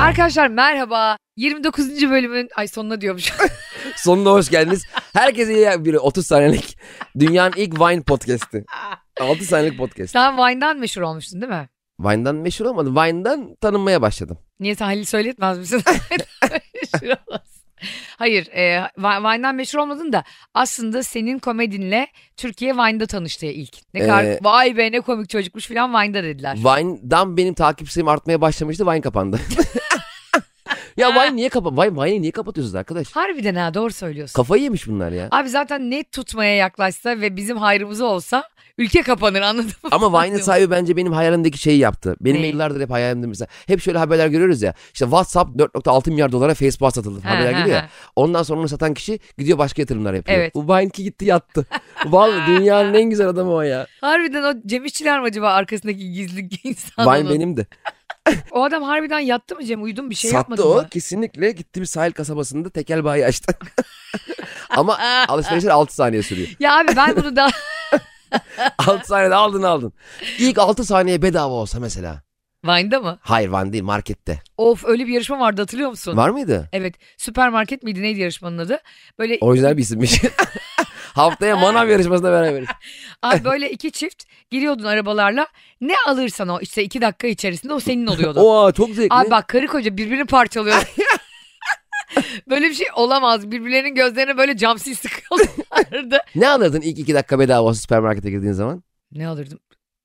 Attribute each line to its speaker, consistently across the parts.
Speaker 1: Arkadaşlar merhaba. 29. bölümün ay sonuna diyormuş.
Speaker 2: Sonunda hoş geldiniz. Herkese iyi bir 30 saniyelik dünyanın ilk Vine podcast'i. 6 saniyelik podcast.
Speaker 1: Sen Vine'dan meşhur olmuştun değil mi?
Speaker 2: Vine'dan meşhur olmadım. Vine'dan tanınmaya başladım.
Speaker 1: Niye sen Halil söyletmez misin? meşhur olasın. Hayır, e, Vi- Vine'dan meşhur olmadın da aslında senin komedinle Türkiye Vine'da tanıştı ilk. Ne kadar
Speaker 2: Ee,
Speaker 1: vay be ne komik çocukmuş filan Vine'da dediler.
Speaker 2: Vine'dan benim takip sayım artmaya başlamıştı. Vine kapandı. ya Vine niye kapat? Vine, Vine'i niye kapatıyorsunuz arkadaş?
Speaker 1: Harbiden ha doğru söylüyorsun.
Speaker 2: Kafayı yemiş bunlar ya.
Speaker 1: Abi zaten net tutmaya yaklaşsa ve bizim hayrımıza olsa ülke kapanır anladın mı?
Speaker 2: Ama Vine'in sahibi bence benim hayalimdeki şeyi yaptı. Benim
Speaker 1: Neyi?
Speaker 2: yıllardır hep hayalimde mesela. Hep şöyle haberler görüyoruz ya. İşte WhatsApp 4.6 milyar dolara Facebook'a satıldı.
Speaker 1: Ha,
Speaker 2: Haberler
Speaker 1: ha,
Speaker 2: geliyor
Speaker 1: ha.
Speaker 2: ya. Ondan sonra onu satan kişi gidiyor başka yatırımlar yapıyor.
Speaker 1: Evet.
Speaker 2: Bu Vine'ki gitti yattı. Vallahi dünyanın en güzel adamı o ya.
Speaker 1: Harbiden o Cem İşçiler mi acaba arkasındaki gizli insan?
Speaker 2: Vine
Speaker 1: olan?
Speaker 2: benim de.
Speaker 1: O adam harbiden yattı mı Cem? Uyudun bir şey yapmadı
Speaker 2: Sattı o.
Speaker 1: mı?
Speaker 2: Kesinlikle gitti bir sahil kasabasında tekel bayi açtı. Ama
Speaker 1: Ah.
Speaker 2: alışverişler 6 saniye sürüyor.
Speaker 1: Ya abi ben bunu daha
Speaker 2: 6 saniyede aldın aldın. İlk 6 saniye bedava olsa mesela.
Speaker 1: Vine'da mı?
Speaker 2: Hayır Vine değil markette.
Speaker 1: Of öyle bir yarışma vardı hatırlıyor musun?
Speaker 2: Var mıydı?
Speaker 1: Evet süpermarket miydi neydi yarışmanın adı? Böyle
Speaker 2: Orijinal bir isimmiş. Haftaya manav yarışmasına beraberiz.
Speaker 1: abi böyle iki çift giriyordun arabalarla. Ne alırsan o işte iki dakika içerisinde o senin oluyordu.
Speaker 2: Oha çok zevkli.
Speaker 1: Abi bak karı koca birbirini parçalıyor. böyle bir şey olamaz. Birbirlerinin gözlerine böyle camsil sıkıyorlardı.
Speaker 2: Ne alırdın ilk iki dakika bedava olsa süpermarkete girdiğin zaman?
Speaker 1: ne alırdım?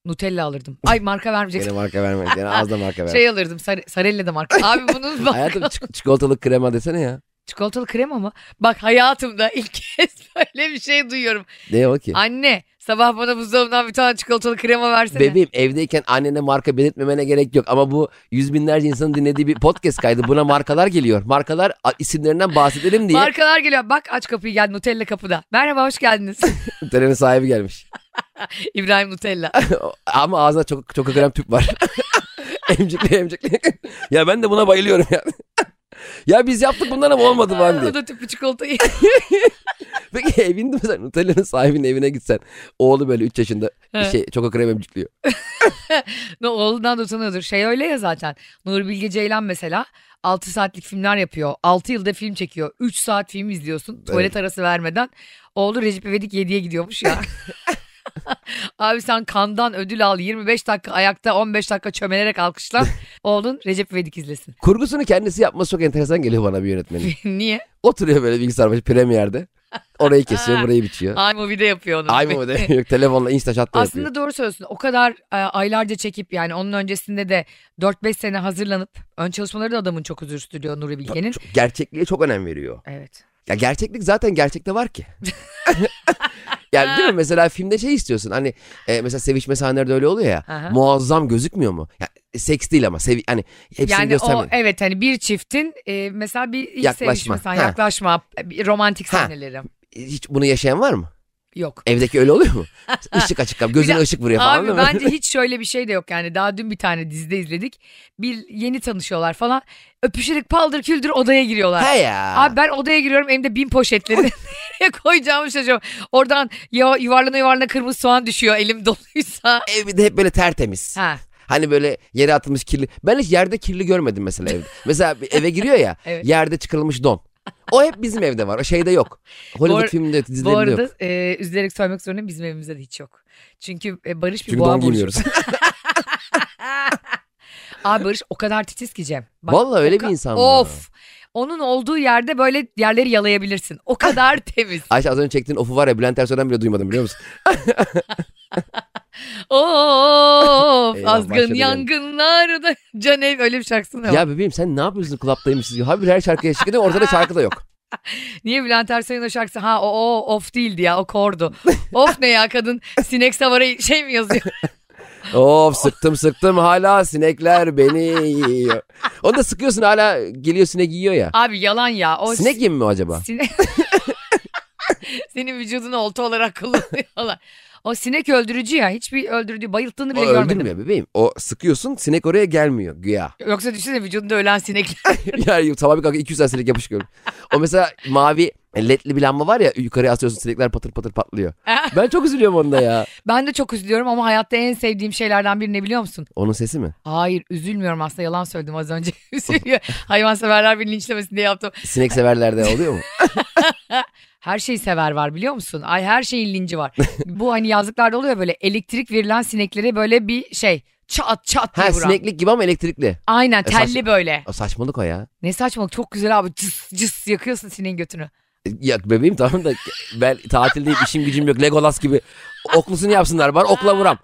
Speaker 1: Nutella alırdım. Ay marka
Speaker 2: Gene
Speaker 1: vermeyeceksin.
Speaker 2: marka vermek. Gene az da marka ver.
Speaker 1: Şey alırdım. Sar- Sarella da marka. Abi bunun bak.
Speaker 2: Hayatım çik- çikolatalı krema desene ya.
Speaker 1: Çikolatalı krema mı? Bak hayatımda ilk kez böyle bir şey duyuyorum.
Speaker 2: Ne o ki?
Speaker 1: Anne sabah bana buzdolabından bir tane çikolatalı krema versene.
Speaker 2: Bebeğim evdeyken annene marka belirtmemene gerek yok. Ama bu yüz binlerce insanın dinlediği bir podcast kaydı. Buna markalar geliyor. Markalar a- isimlerinden bahsedelim diye.
Speaker 1: Markalar geliyor. Bak aç kapıyı gel Nutella kapıda. Merhaba hoş geldiniz.
Speaker 2: Terenin sahibi gelmiş.
Speaker 1: İbrahim Nutella.
Speaker 2: Ama ağzına çok çok krem tüp var. emcikli emcikli. ya ben de buna bayılıyorum ya. ya biz yaptık bundan ama olmadı falan diye.
Speaker 1: o da tüplü çikolatayı.
Speaker 2: Peki evinde mesela Nutella'nın sahibinin evine gitsen. Oğlu böyle 3 yaşında bir
Speaker 1: He.
Speaker 2: şey çok krem emcikliyor.
Speaker 1: ne oğlundan da tanıyordur. Şey öyle ya zaten. Nur Bilge Ceylan mesela 6 saatlik filmler yapıyor. 6 yılda film çekiyor. 3 saat film izliyorsun. Tuvalet arası vermeden. Oğlu Recep İvedik 7'ye gidiyormuş ya. Abi sen kandan ödül al 25 dakika ayakta 15 dakika çömelerek alkışlan. Oğlun Recep İvedik izlesin.
Speaker 2: Kurgusunu kendisi yapması çok enteresan geliyor bana bir yönetmenin.
Speaker 1: Niye?
Speaker 2: Oturuyor böyle bilgisayar başı premierde. Orayı kesiyor burayı biçiyor.
Speaker 1: iMovie'de yapıyor onu.
Speaker 2: Ay mı de yok telefonla Instachat'ta yapıyor.
Speaker 1: Aslında doğru söylüyorsun. O kadar e, aylarca çekip yani onun öncesinde de 4-5 sene hazırlanıp ön çalışmaları da adamın çok huzur stüdyo Nuri Bilge'nin.
Speaker 2: Çok- gerçekliğe çok önem veriyor.
Speaker 1: Evet.
Speaker 2: Ya gerçeklik zaten gerçekte var ki. yani değil mi mesela filmde şey istiyorsun hani e, mesela sevişme sahneleri de öyle oluyor ya
Speaker 1: Aha.
Speaker 2: muazzam gözükmüyor mu? Ya, seks değil ama sevi hani hepsini
Speaker 1: Yani o
Speaker 2: göstermiyor.
Speaker 1: evet hani bir çiftin e, mesela bir ilk
Speaker 2: Yaklaşma.
Speaker 1: sevişme sahne,
Speaker 2: Ha.
Speaker 1: şey
Speaker 2: Hani
Speaker 1: e, şey
Speaker 2: e, LED'li bir lamba var ya yukarıya asıyorsun sinekler patır patır patlıyor. Ben çok üzülüyorum onda ya.
Speaker 1: Ben de çok üzülüyorum ama hayatta en sevdiğim şeylerden biri ne biliyor musun?
Speaker 2: Onun sesi mi?
Speaker 1: Hayır üzülmüyorum aslında yalan söyledim az önce. Üzülüyor. Hayvanseverler beni linçlemesin diye yaptım.
Speaker 2: Sinek severlerde oluyor mu?
Speaker 1: Her şeyi sever var biliyor musun? Ay her şeyin linci var. Bu hani yazlıklarda oluyor böyle elektrik verilen sineklere böyle bir şey çat çat diye
Speaker 2: Ha
Speaker 1: vuran.
Speaker 2: sineklik gibi ama elektrikli.
Speaker 1: Aynen
Speaker 2: E, saç-
Speaker 1: telli böyle.
Speaker 2: O saçmalık o ya.
Speaker 1: Ne saçmalık çok güzel abi cıs cıs yakıyorsun sineğin götünü.
Speaker 2: E, Ya bebeğim tamam da ben tatildeyim işim gücüm yok Legolas gibi. Oklusunu yapsınlar bari okla vuram.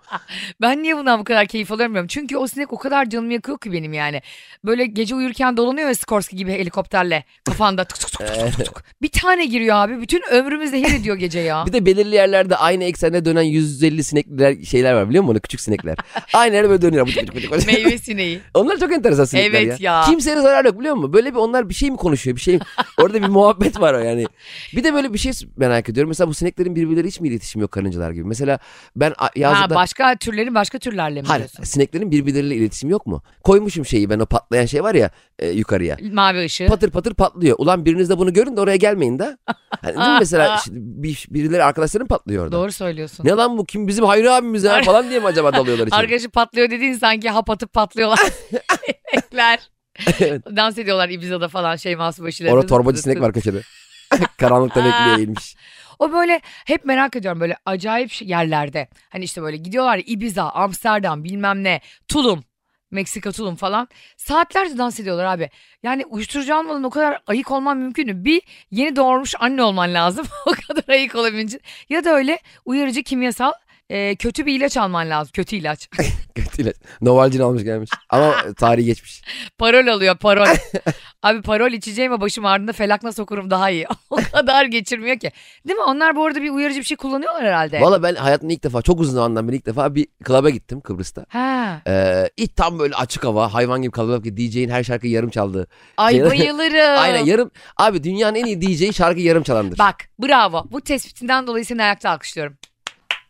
Speaker 1: Ben niye bundan bu kadar keyif alamıyorum? Çünkü o sinek o kadar canımı yakıyor ki benim yani. Böyle gece uyurken dolanıyor ya Skorsky gibi helikopterle kafanda tık tık tık tık tık tık tık. Bir tane giriyor abi bütün ömrümü zehir ediyor gece ya.
Speaker 2: Bir de belirli yerlerde aynı eksende dönen 150 sinekler şeyler var biliyor musun? Küçük sinekler. aynı yerde böyle dönüyor. Bıcık bıcık bıcık.
Speaker 1: Meyve sineği.
Speaker 2: Onlar çok enteresan sinekler
Speaker 1: Evet
Speaker 2: ya.
Speaker 1: ya.
Speaker 2: Kimseye de zarar yok biliyor musun? Böyle bir onlar bir şey mi konuşuyor? Bir şey mi? Orada bir muhabbet var o yani. Bir de böyle bir şey merak ediyorum. Mesela bu sineklerin birbirleri hiç mi iletişimi yok karıncalar gibi? Mesela ben a-
Speaker 1: Ha,
Speaker 2: yazlıkta...
Speaker 1: başka türlerin başka türlerle mi
Speaker 2: Hayır,
Speaker 1: diyorsun?
Speaker 2: sineklerin birbirleriyle iletişimi yok mu? Koymuşum şeyi ben o patlayan şey var ya e, yukarıya.
Speaker 1: Mavi ışığı.
Speaker 2: Patır patır patlıyor. Ulan biriniz de bunu görün de oraya gelmeyin de. Hani değil mi mesela işte bir, birileri arkadaşların patlıyor orada.
Speaker 1: Doğru söylüyorsun.
Speaker 2: Ne lan bu kim bizim Hayri abimiz ya falan diye mi acaba dalıyorlar içeri?
Speaker 1: Arkadaşı patlıyor dediğin sanki hap atıp patlıyorlar. Sinekler.
Speaker 2: Evet.
Speaker 1: Dans ediyorlar Ibiza'da falan şey Masbaşı'yla.
Speaker 2: Orada torbacı sinek var köşede. Karanlıkta bekliyor eğilmiş.
Speaker 1: O böyle hep merak ediyorum böyle acayip şey- yerlerde. Hani işte böyle gidiyorlar ya Ibiza, Amsterdam bilmem ne, Tulum. Meksika Tulum falan. Saatlerce dans ediyorlar abi. Yani uyuşturucu almadan o kadar ayık olman mümkün mü? Bir yeni doğurmuş anne olman lazım. o kadar ayık olabilmen için. Ya da öyle uyarıcı kimyasal e, kötü bir ilaç alman lazım. Kötü ilaç.
Speaker 2: Kötü ilaç. Novalcin almış gelmiş. Ama tarihi geçmiş.
Speaker 1: Parol alıyor parol. Abi parol içeceğime başım ardında felakna sokurum daha iyi. o kadar geçirmiyor ki. Değil mi? Onlar bu arada bir uyarıcı bir şey kullanıyorlar herhalde.
Speaker 2: Valla ben hayatımda ilk defa çok uzun zamandan beri ilk defa bir klaba gittim Kıbrıs'ta.
Speaker 1: Ha.
Speaker 2: Ee, ilk tam böyle açık hava hayvan gibi kalabalık bir DJ'in her şarkıyı yarım çaldığı.
Speaker 1: Ay
Speaker 2: Şey-
Speaker 1: bayılırım.
Speaker 2: Aynen yarım. Abi dünyanın en iyi DJ'i şarkı yarım çalandır.
Speaker 1: Bak bravo. Bu tespitinden dolayı seni ayakta alkışlıyorum.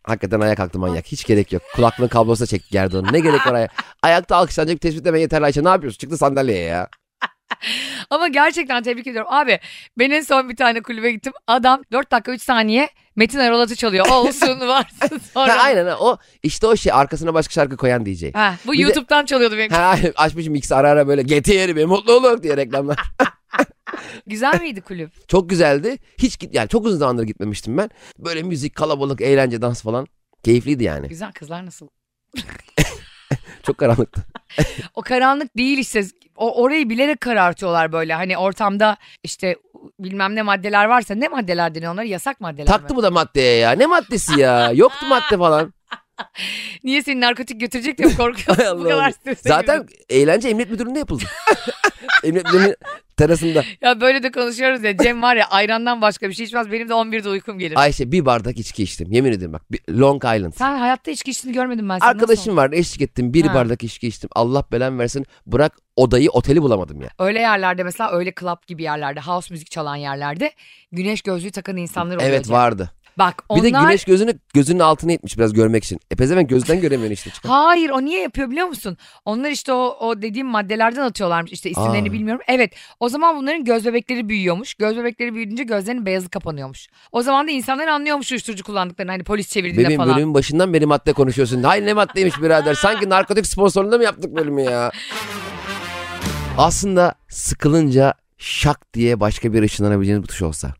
Speaker 2: Hakikaten ayak kalktı manyak. Hiç gerek yok. Kulaklığın kablosuna çekti Gerdan'ı. Ne gerek var aya- Ayakta alkışlanacak bir tespit demen yeterli Ayşe. Ne yapıyorsun? Çıktı sandalyeye ya.
Speaker 1: Ama gerçekten tebrik ediyorum. Abi ben en son bir tane kulübe gittim. Adam 4 dakika 3 saniye Metin Erolat'ı çalıyor. Olsun varsın sonra.
Speaker 2: Ha, aynen ha. o işte o şey arkasına başka şarkı koyan DJ.
Speaker 1: Ha, bu
Speaker 2: Bir de-
Speaker 1: YouTube'dan çalıyordu benim.
Speaker 2: Ha, açmış mix ara ara böyle getir bir mutlu olur diye reklamlar.
Speaker 1: Güzel miydi kulüp?
Speaker 2: çok güzeldi. Hiç git yani çok uzun zamandır gitmemiştim ben. Böyle müzik, kalabalık, eğlence, dans falan keyifliydi yani.
Speaker 1: Güzel kızlar nasıl?
Speaker 2: Çok karanlıktı.
Speaker 1: O karanlık değil işte. O, orayı bilerek karartıyorlar böyle. Hani ortamda işte bilmem ne maddeler varsa ne maddeler deniyor onlara? Yasak maddeler
Speaker 2: Taktı
Speaker 1: mi?
Speaker 2: mı da maddeye ya? Ne maddesi ya? Yoktu madde falan.
Speaker 1: Niye seni narkotik götürecek diye
Speaker 2: Hay
Speaker 1: korkuyorsun bu
Speaker 2: Allah'ım.
Speaker 1: kadar strese
Speaker 2: Zaten eğlence emniyet müdürlüğünde yapıldı. emniyet müdürlüğünün terasında.
Speaker 1: Ya böyle de konuşuyoruz ya Cem var ya ayrandan başka bir şey içmez benim de 11'de uykum gelir.
Speaker 2: Ayşe bir bardak içki içtim. Yemin ederim bak. bir- Long Island.
Speaker 1: Sen hayatta içki içtiğini görmedim ben. Sen
Speaker 2: Arkadaşım vardı eşlik ettim. Bir
Speaker 1: Ha.
Speaker 2: bardak içki içtim. Allah belen versin. Bırak odayı oteli bulamadım ya.
Speaker 1: Nasıl? Öyle yerlerde mesela öyle club gibi yerlerde house müzik çalan yerlerde güneş gözlüğü takan insanlar oluyor.
Speaker 2: Evet
Speaker 1: Cem.
Speaker 2: vardı.
Speaker 1: Bak onlar...
Speaker 2: Bir de güneş gözünü gözünün altına etmiş biraz görmek için. E pezevenk gözden göremiyorsun işte. çıkar.
Speaker 1: Hayır o niye yapıyor biliyor musun? Onlar işte o, o dediğim maddelerden atıyorlarmış işte isimlerini
Speaker 2: Aa.
Speaker 1: bilmiyorum. Evet o zaman bunların göz bebekleri büyüyormuş. Göz bebekleri büyüyünce gözlerinin beyazı kapanıyormuş. O zaman da insanlar anlıyormuş uyuşturucu kullandıklarını hani polis çevirdiğinde
Speaker 2: Bebeğim
Speaker 1: falan.
Speaker 2: bölümün başından beri madde konuşuyorsun. Hayır ne maddeymiş birader. Sanki narkotik sponsorluğunda mı yaptık bölümü ya? Aslında sıkılınca şak diye başka bir ışınlanabileceğiniz bir tuş olsa.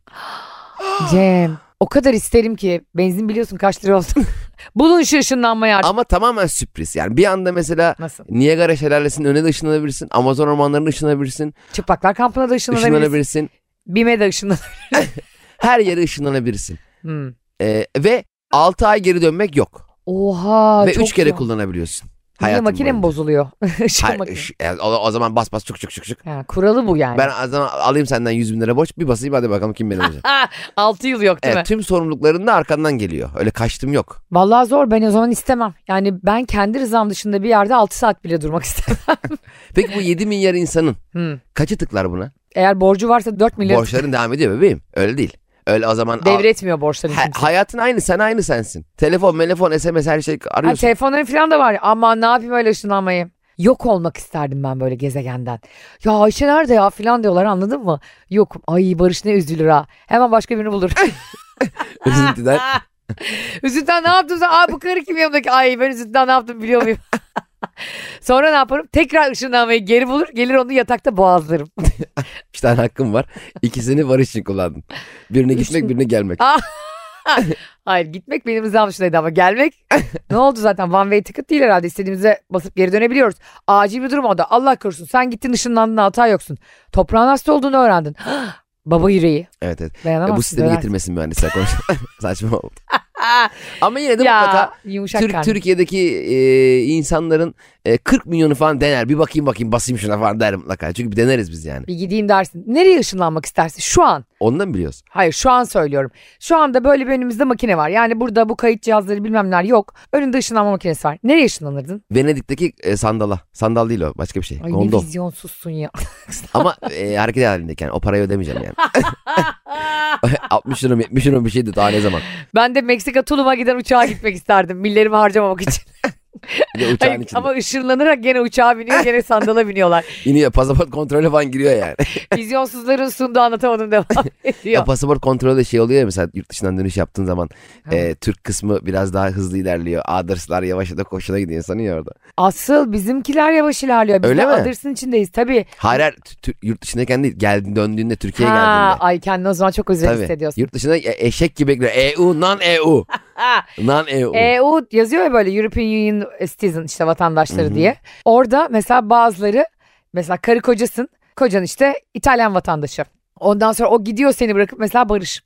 Speaker 1: Cem o kadar isterim ki benzin biliyorsun kaç lira olsun. Bulun şu ışınlanmayı artık.
Speaker 2: Ama tamamen sürpriz. Yani bir anda mesela
Speaker 1: Nasıl?
Speaker 2: Niagara şelalesinin önüne de ışınlanabilirsin. Amazon ormanlarına ışınlanabilirsin.
Speaker 1: Çıplaklar kampına da ışınlanabilirsin.
Speaker 2: Işınlanabilirsin.
Speaker 1: Bime de ışınlanabilirsin.
Speaker 2: Her yere ışınlanabilirsin.
Speaker 1: Hmm.
Speaker 2: Ee, ve 6 ay geri dönmek yok.
Speaker 1: Oha
Speaker 2: ve
Speaker 1: çok
Speaker 2: 3 kere
Speaker 1: iyi.
Speaker 2: kullanabiliyorsun.
Speaker 1: Yine
Speaker 2: hayatın
Speaker 1: makine mi
Speaker 2: boyunca.
Speaker 1: bozuluyor? Işın
Speaker 2: Hayır,
Speaker 1: makine.
Speaker 2: ş- yani o, o zaman bas bas çık çık çık çık.
Speaker 1: Ha, kuralı bu yani.
Speaker 2: Ben o zaman alayım senden 100 bin lira borç bir basayım hadi bakalım kim beni alacak.
Speaker 1: 6 yıl yok değil
Speaker 2: evet,
Speaker 1: mi?
Speaker 2: tüm sorumlulukların da arkandan geliyor. Öyle kaçtım yok.
Speaker 1: Vallahi zor ben o zaman istemem. Yani ben kendi rızam dışında bir yerde 6 saat bile durmak istemem.
Speaker 2: Peki bu 7 milyar insanın
Speaker 1: Hmm.
Speaker 2: kaçı tıklar buna?
Speaker 1: Eğer borcu varsa 4 milyar
Speaker 2: Borçların devam ediyor bebeğim. Öyle değil. Öyle o zaman al-
Speaker 1: devretmiyor borçları
Speaker 2: Ha-
Speaker 1: kimse.
Speaker 2: hayatın aynı sen aynı sensin. Telefon, telefon, SMS her şey
Speaker 1: Ha,
Speaker 2: arıyorsun.
Speaker 1: telefonların falan da var. Ama ne yapayım öyle ışınlanmayı. Yok olmak isterdim ben böyle gezegenden. Ya Ayşe nerede ya filan diyorlar anladın mı? Yok. Ay Barış ne üzülür ha. Hemen başka birini bulur.
Speaker 2: Üzüntüden.
Speaker 1: Üzüntüden ne yaptım? sen? Aa bu karı kim yanımdaki? Ay ben üzüntüden ne yaptım biliyor muyum? Sonra ne yaparım? Tekrar ışınlanmayı geri bulur. Gelir onu yatakta boğazlarım.
Speaker 2: Üç tane hakkım var. İkisini barış için kullandım. Birine gitmek birine gelmek.
Speaker 1: Hayır gitmek benim rızam dışındaydı ama gelmek ne oldu zaten one way ticket değil herhalde istediğimize basıp geri dönebiliyoruz. Acil bir durum oldu Allah korusun sen gittin ışınlandın hata yoksun. Toprağın hasta olduğunu öğrendin. Baba yüreği
Speaker 2: Evet evet.
Speaker 1: dayanamazsın.
Speaker 2: Ya bu sistemi
Speaker 1: dönersin.
Speaker 2: getirmesin mühendisler konuş. Saçma oldu. Ama yine de mutlaka
Speaker 1: Ya yumuşak
Speaker 2: Tür-
Speaker 1: karnı.
Speaker 2: Türkiye'deki e, insanların e, 40 milyonu falan dener. Bir bakayım bakayım basayım şuna falan derim mutlaka. Çünkü bir deneriz biz yani.
Speaker 1: Bir gideyim dersin. Nereye ışınlanmak istersin şu an?
Speaker 2: Ondan mı biliyorsun?
Speaker 1: Hayır şu an söylüyorum. Şu anda böyle bir önümüzde makine var. Yani burada bu kayıt cihazları bilmem neler yok. Önünde ışınlanma makinesi var. Nereye ışınlanırdın?
Speaker 2: Venedik'teki e, sandala. Sandal değil o başka bir şey.
Speaker 1: Ay ne
Speaker 2: Gondol.
Speaker 1: vizyonsuzsun ya.
Speaker 2: Ama e, hareket halindeki yani o parayı ödemeyeceğim yani. 60 lira mı, 70 lira mı bir şeydi daha ne zaman.
Speaker 1: ben de Meksika Tulum'a giden uçağa gitmek isterdim. Millerimi harcamamak için.
Speaker 2: Bir de
Speaker 1: Hayır,
Speaker 2: uçağın içinde.
Speaker 1: ama ışınlanarak gene uçağa biniyor gene sandala biniyorlar.
Speaker 2: İniyor pasaport kontrolü falan giriyor yani.
Speaker 1: Vizyonsuzların sunduğu anlatamadım devam
Speaker 2: ya
Speaker 1: ediyor.
Speaker 2: pasaport kontrolü de şey oluyor ya mesela yurt dışından dönüş yaptığın zaman
Speaker 1: Ha.
Speaker 2: e, Türk kısmı biraz daha hızlı ilerliyor. Adırslar yavaş ya da koşuna gidiyor insanın ya orada.
Speaker 1: Asıl bizimkiler yavaş ilerliyor. Biz
Speaker 2: Öyle
Speaker 1: de
Speaker 2: mi?
Speaker 1: Adırs'ın içindeyiz tabii.
Speaker 2: Hayır hayır, tü- tü- yurt dışındayken değil geldi, döndüğünde Türkiye'ye
Speaker 1: Ha,
Speaker 2: geldiğinde.
Speaker 1: ay kendini o zaman çok özel hissediyorsun.
Speaker 2: Yurt dışında e- eşek gibi bekliyor. EU, non EU.
Speaker 1: Ha,
Speaker 2: non EU.
Speaker 1: EU yazıyor ya böyle European Union citizen işte vatandaşları
Speaker 2: Oh. Hı hı.
Speaker 1: diye. Orada mesela bazıları mesela karı kocasın. Kocan işte İtalyan vatandaşı. Ondan sonra o gidiyor seni bırakıp mesela Barış.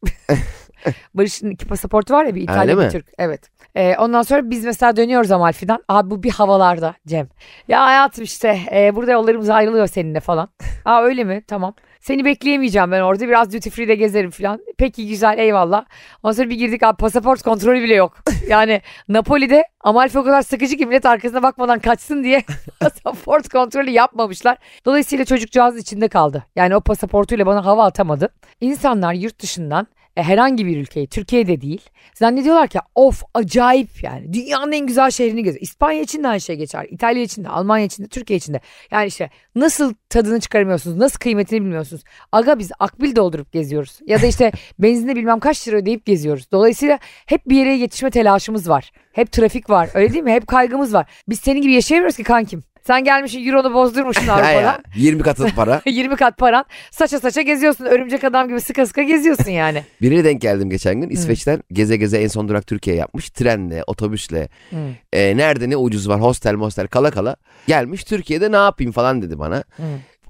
Speaker 1: Barış'ın iki pasaportu var ya bir İtalyan
Speaker 2: Öyle
Speaker 1: bir
Speaker 2: mi?
Speaker 1: Türk. Evet. Ee, ondan sonra biz mesela dönüyoruz Amalfi'den. Abi bu bir havalarda Cem. Ya hayatım işte e, burada yollarımız ayrılıyor seninle falan. Aa öyle mi? Tamam. Seni bekleyemeyeceğim ben orada. Biraz duty free'de gezerim falan. Peki güzel eyvallah. Ondan sonra bir girdik abi pasaport kontrolü bile yok. Yani Napoli'de Amalfi o kadar sıkıcı ki millet arkasına bakmadan kaçsın diye pasaport kontrolü yapmamışlar. Dolayısıyla çocukcağız içinde kaldı. Yani o pasaportuyla bana hava atamadı. İnsanlar yurt dışından e, herhangi bir ülkeyi Türkiye'de değil zannediyorlar ki of acayip yani dünyanın en güzel şehrini geziyor. İspanya için de aynı şey geçer. İtalya için de Almanya için de Türkiye için de. Yani işte nasıl tadını çıkaramıyorsunuz nasıl kıymetini bilmiyorsunuz. Aga biz akbil doldurup geziyoruz ya da işte benzinle bilmem kaç lira ödeyip geziyoruz. Dolayısıyla hep bir yere yetişme telaşımız var. Hep trafik var öyle değil mi? Hep kaygımız var. Biz senin gibi yaşayamıyoruz ki kankim. Sen gelmişsin euronu bozdurmuşsun
Speaker 2: Ya
Speaker 1: Avrupa'da.
Speaker 2: ya, 20 katı para.
Speaker 1: 20 kat paran saça saça geziyorsun. Örümcek adam gibi sıka sıka geziyorsun yani.
Speaker 2: Birine denk geldim geçen gün. İsveç'ten geze geze en son durak Türkiye yapmış. Trenle, otobüsle.
Speaker 1: Hı.
Speaker 2: E, nerede ne ucuz var hostel mostel kala kala. Gelmiş Türkiye'de ne yapayım falan dedi bana.
Speaker 1: Hı.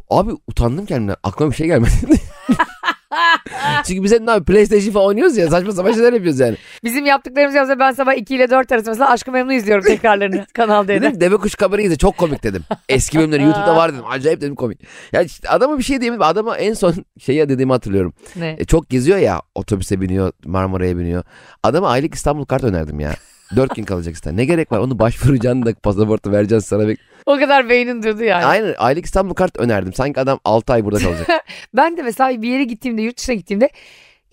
Speaker 2: Abi utandım kendimden. Aklıma bir şey gelmedi. Çünkü biz hep ne yapıyoruz? PlayStation falan oynuyoruz ya. Saçma sapan şeyler yapıyoruz yani.
Speaker 1: Bizim yaptıklarımız yapsa ben sabah 2 ile 4 arası mesela Aşkı Memnu izliyorum tekrarlarını Kanal D'de.
Speaker 2: Dedim deve kuş kamerayı izle çok komik dedim. Eski bölümleri YouTube'da var dedim. Acayip dedim komik. Ya işte adama bir şey diyemedim. Adama en son şeyi dediğimi hatırlıyorum.
Speaker 1: Ne?
Speaker 2: E, çok geziyor ya otobüse biniyor Marmara'ya biniyor. Adama aylık İstanbul kart önerdim ya. Dört gün kalacak İstanbul. Ne gerek var onu başvuracaksın da pasaportu vereceksin sana. Bek-
Speaker 1: O kadar beynin durdu yani.
Speaker 2: Aynen aylık İstanbul kart önerdim. Sanki adam 6 ay burada kalacak.
Speaker 1: Ben de mesela bir yere gittiğimde yurt dışına gittiğimde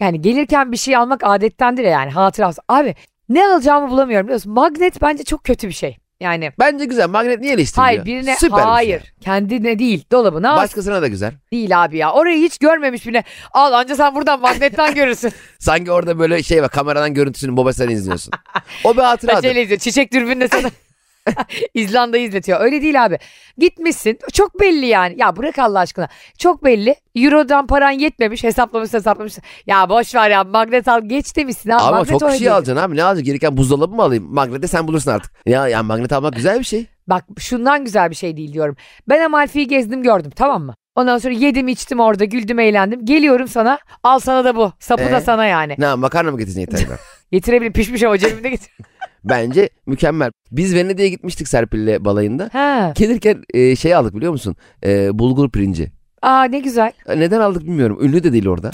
Speaker 1: yani gelirken bir şey almak adettendir ya yani hatırası. Abi ne alacağımı bulamıyorum biliyorsun. Magnet bence çok kötü bir şey. Yani
Speaker 2: Bence güzel magnet niye eleştiriliyor?
Speaker 1: hayır birine
Speaker 2: Süper bir şey.
Speaker 1: hayır kendine değil dolabına
Speaker 2: Başkasına da güzel.
Speaker 1: değil abi ya. Orayı hiç görmemiş birine al anca sen buradan magnetten görürsün.
Speaker 2: Sanki orada böyle şey var kameradan görüntüsünü babasını izliyorsun. O bir hatıradır.
Speaker 1: Saçıyla izliyor. Çiçek dürbünle sana İzlanda'yı izletiyor. Öyle değil abi. Gitmişsin. Çok belli yani. Ya bırak Allah aşkına. Çok belli. Euro'dan paran yetmemiş. Hesaplamış hesaplamış. Ya boş ver ya. Magnet al. Geç demişsin. Abi.
Speaker 2: Ama
Speaker 1: magnet
Speaker 2: çok
Speaker 1: öyle
Speaker 2: şey
Speaker 1: değil.
Speaker 2: alacaksın abi. Ne alacaksın? Gereken buzdolabı mı alayım? Magnete sen bulursun artık. Ya, ya magnet almak güzel bir şey.
Speaker 1: Bak şundan güzel bir şey değil diyorum. Ben Amalfi'yi gezdim gördüm tamam mı? Ondan sonra yedim içtim orada güldüm eğlendim. Geliyorum sana al sana da bu. Sapı da
Speaker 2: Ee?
Speaker 1: sana yani.
Speaker 2: Ne makarna mı getireceksin yeterli.
Speaker 1: Getirebilirim pişmiş ama cebimde getir.
Speaker 2: Bence mükemmel. Biz Venedik'e gitmiştik Serpil'le balayında.
Speaker 1: ha.
Speaker 2: Gelirken e, şey aldık biliyor musun? E, bulgur pirinci. E,
Speaker 1: Aa ne güzel.
Speaker 2: Neden aldık bilmiyorum. Ünlü de değil orada.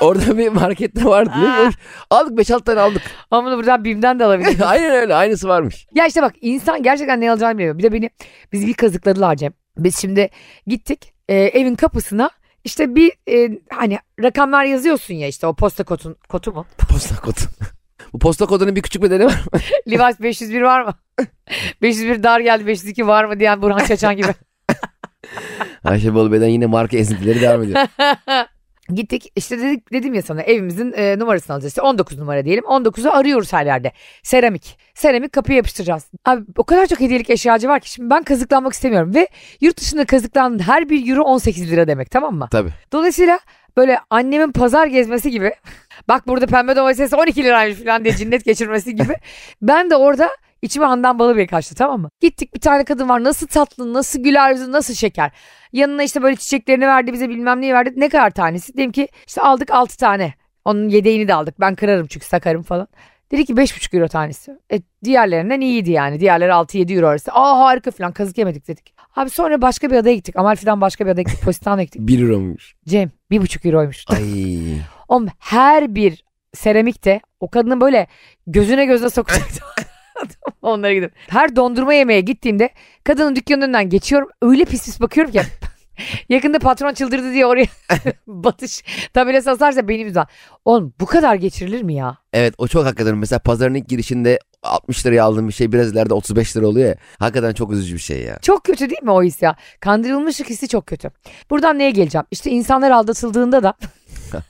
Speaker 2: orada bir markette vardı. Ne
Speaker 1: Aa.
Speaker 2: bileyim, Aldık 5-6 tane aldık.
Speaker 1: Ama bunu buradan BİM'den de alabilirim.
Speaker 2: Aynen öyle aynısı varmış.
Speaker 1: Ya işte bak insan gerçekten ne alacağını bilemiyor. Bir de beni biz bir kazıkladılar Cem. Biz şimdi gittik e, evin kapısına işte bir e, hani rakamlar yazıyorsun ya işte o posta kotun, kotu mu?
Speaker 2: Posta kodu. Bu posta kodunun bir küçük bedeli var. mı?
Speaker 1: Livas 501 var mı? 501 dar geldi 502 var mı diyen Burhan Çaçan gibi.
Speaker 2: Ayşe Bolu'dan yine marka esintileri devam ediyor.
Speaker 1: Gittik işte dedik, dedim ya sana evimizin e, numarasını alacağız. İşte 19 numara diyelim. 19'u arıyoruz her yerde. Seramik. Seramik kapıya yapıştıracağız. Abi o kadar çok hediyelik eşyacı var ki şimdi ben kazıklanmak istemiyorum. Ve yurt dışında kazıklanan her bir euro 18 lira demek tamam mı?
Speaker 2: Tabii.
Speaker 1: Dolayısıyla böyle annemin pazar gezmesi gibi bak burada pembe domates 12 liraymış falan diye cinnet geçirmesi gibi ben de orada içime handan balı bir kaçtı tamam mı? Gittik bir tane kadın var nasıl tatlı nasıl güler yüzlü nasıl şeker. Yanına işte böyle çiçeklerini verdi bize bilmem neyi verdi ne kadar tanesi? Dedim ki işte aldık 6 tane onun yedeğini de aldık ben kırarım çünkü sakarım falan. Dedi ki 5,5 euro tanesi. E, diğerlerinden iyiydi yani. Diğerleri 6-7 euro arası. Aa harika falan kazık yemedik dedik. Abi sonra başka bir adaya gittik. Amalfi'den başka bir adaya gittik. Positano'ya gittik.
Speaker 2: 1 euro muymuş?
Speaker 1: Cem bir buçuk euroymuş.
Speaker 2: Ay.
Speaker 1: Oğlum her bir seramikte o kadının böyle gözüne gözüne sokacaktım. Onlara gidip. Her dondurma yemeğe gittiğimde kadının dükkanının önünden geçiyorum. Öyle pis pis bakıyorum ki. Yakında patron çıldırdı diye oraya batış tabelası asarsa benim yüzümden. Oğlum bu kadar geçirilir mi ya?
Speaker 2: Evet o çok hakikaten mesela pazarın ilk girişinde 60 liraya aldığım bir şey biraz ileride 35 lira oluyor ya. Hakikaten çok üzücü bir şey ya.
Speaker 1: Çok kötü değil mi o his ya? Kandırılmışlık hissi çok kötü. Buradan neye geleceğim? İşte insanlar aldatıldığında da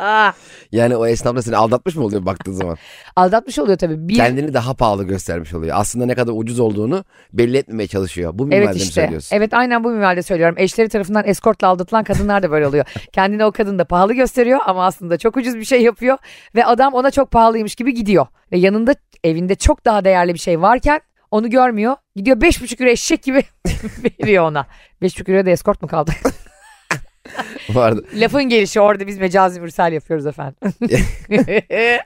Speaker 1: Ah,
Speaker 2: Yani o esnaf da seni aldatmış mı oluyor baktığın zaman?
Speaker 1: aldatmış oluyor tabii. Bir,
Speaker 2: Kendini daha pahalı göstermiş oluyor. Aslında ne kadar ucuz olduğunu belli etmemeye çalışıyor. Bu minvalde
Speaker 1: Evet
Speaker 2: mi
Speaker 1: işte.
Speaker 2: söylüyorsun?
Speaker 1: Evet aynen bu minvalde söylüyorum. Eşleri tarafından eskortla aldatılan kadınlar da böyle oluyor. Kendini o kadın da pahalı gösteriyor ama aslında çok ucuz bir şey yapıyor. Ve adam ona çok pahalıymış gibi gidiyor. Ve yanında evinde çok daha değerli bir şey varken onu görmüyor. Gidiyor 5,5 euro eşek gibi veriyor ona. 5,5 euro da eskort mu kaldı?
Speaker 2: Bu arada
Speaker 1: Lafın gelişi orada biz mecazi mürsel yapıyoruz efendim.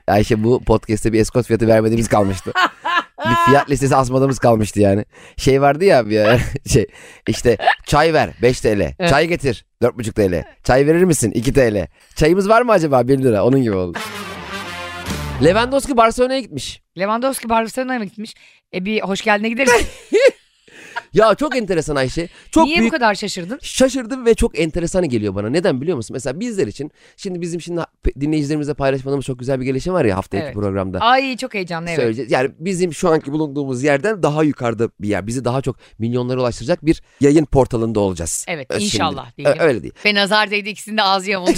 Speaker 2: Ayşe bu podcast'te bir eskort fiyatı vermediğimiz kalmıştı. bir fiyat listesi asmadığımız kalmıştı yani. Şey vardı ya bir şey işte çay ver 5 TL.
Speaker 1: Evet.
Speaker 2: Çay getir 4,5 TL. Çay verir misin 2 TL. Çayımız var mı acaba 1 lira onun gibi oldu. Lewandowski Barcelona'ya gitmiş.
Speaker 1: Lewandowski Barcelona'ya mı gitmiş? E bir hoş geldine gideriz.
Speaker 2: Ya çok enteresan Ayşe. Çok
Speaker 1: Niye
Speaker 2: büyük
Speaker 1: bu kadar şaşırdın?
Speaker 2: şaşırdım ve çok enteresan geliyor bana. Neden biliyor musun? Mesela bizler için şimdi bizim şimdi dinleyicilerimize paylaşmadığımız çok güzel bir gelişim var ya haftaki
Speaker 1: Evet.
Speaker 2: programda.
Speaker 1: Ay çok heyecanlı evet.
Speaker 2: söyleyeceğiz. Yani bizim şu anki bulunduğumuz yerden daha yukarıda bir yer. Bizi daha çok milyonlara ulaştıracak bir yayın portalında olacağız.
Speaker 1: Evet
Speaker 2: Ö- şimdi. e,
Speaker 1: inşallah
Speaker 2: Ö-
Speaker 1: diyelim.
Speaker 2: Öyle değil.
Speaker 1: Ve nazar değdi ikisinin de ağzı yamuldu.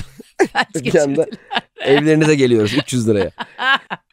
Speaker 1: Felç
Speaker 2: Bir anda
Speaker 1: geçirdi.
Speaker 2: evlerinize geliyoruz 300 liraya.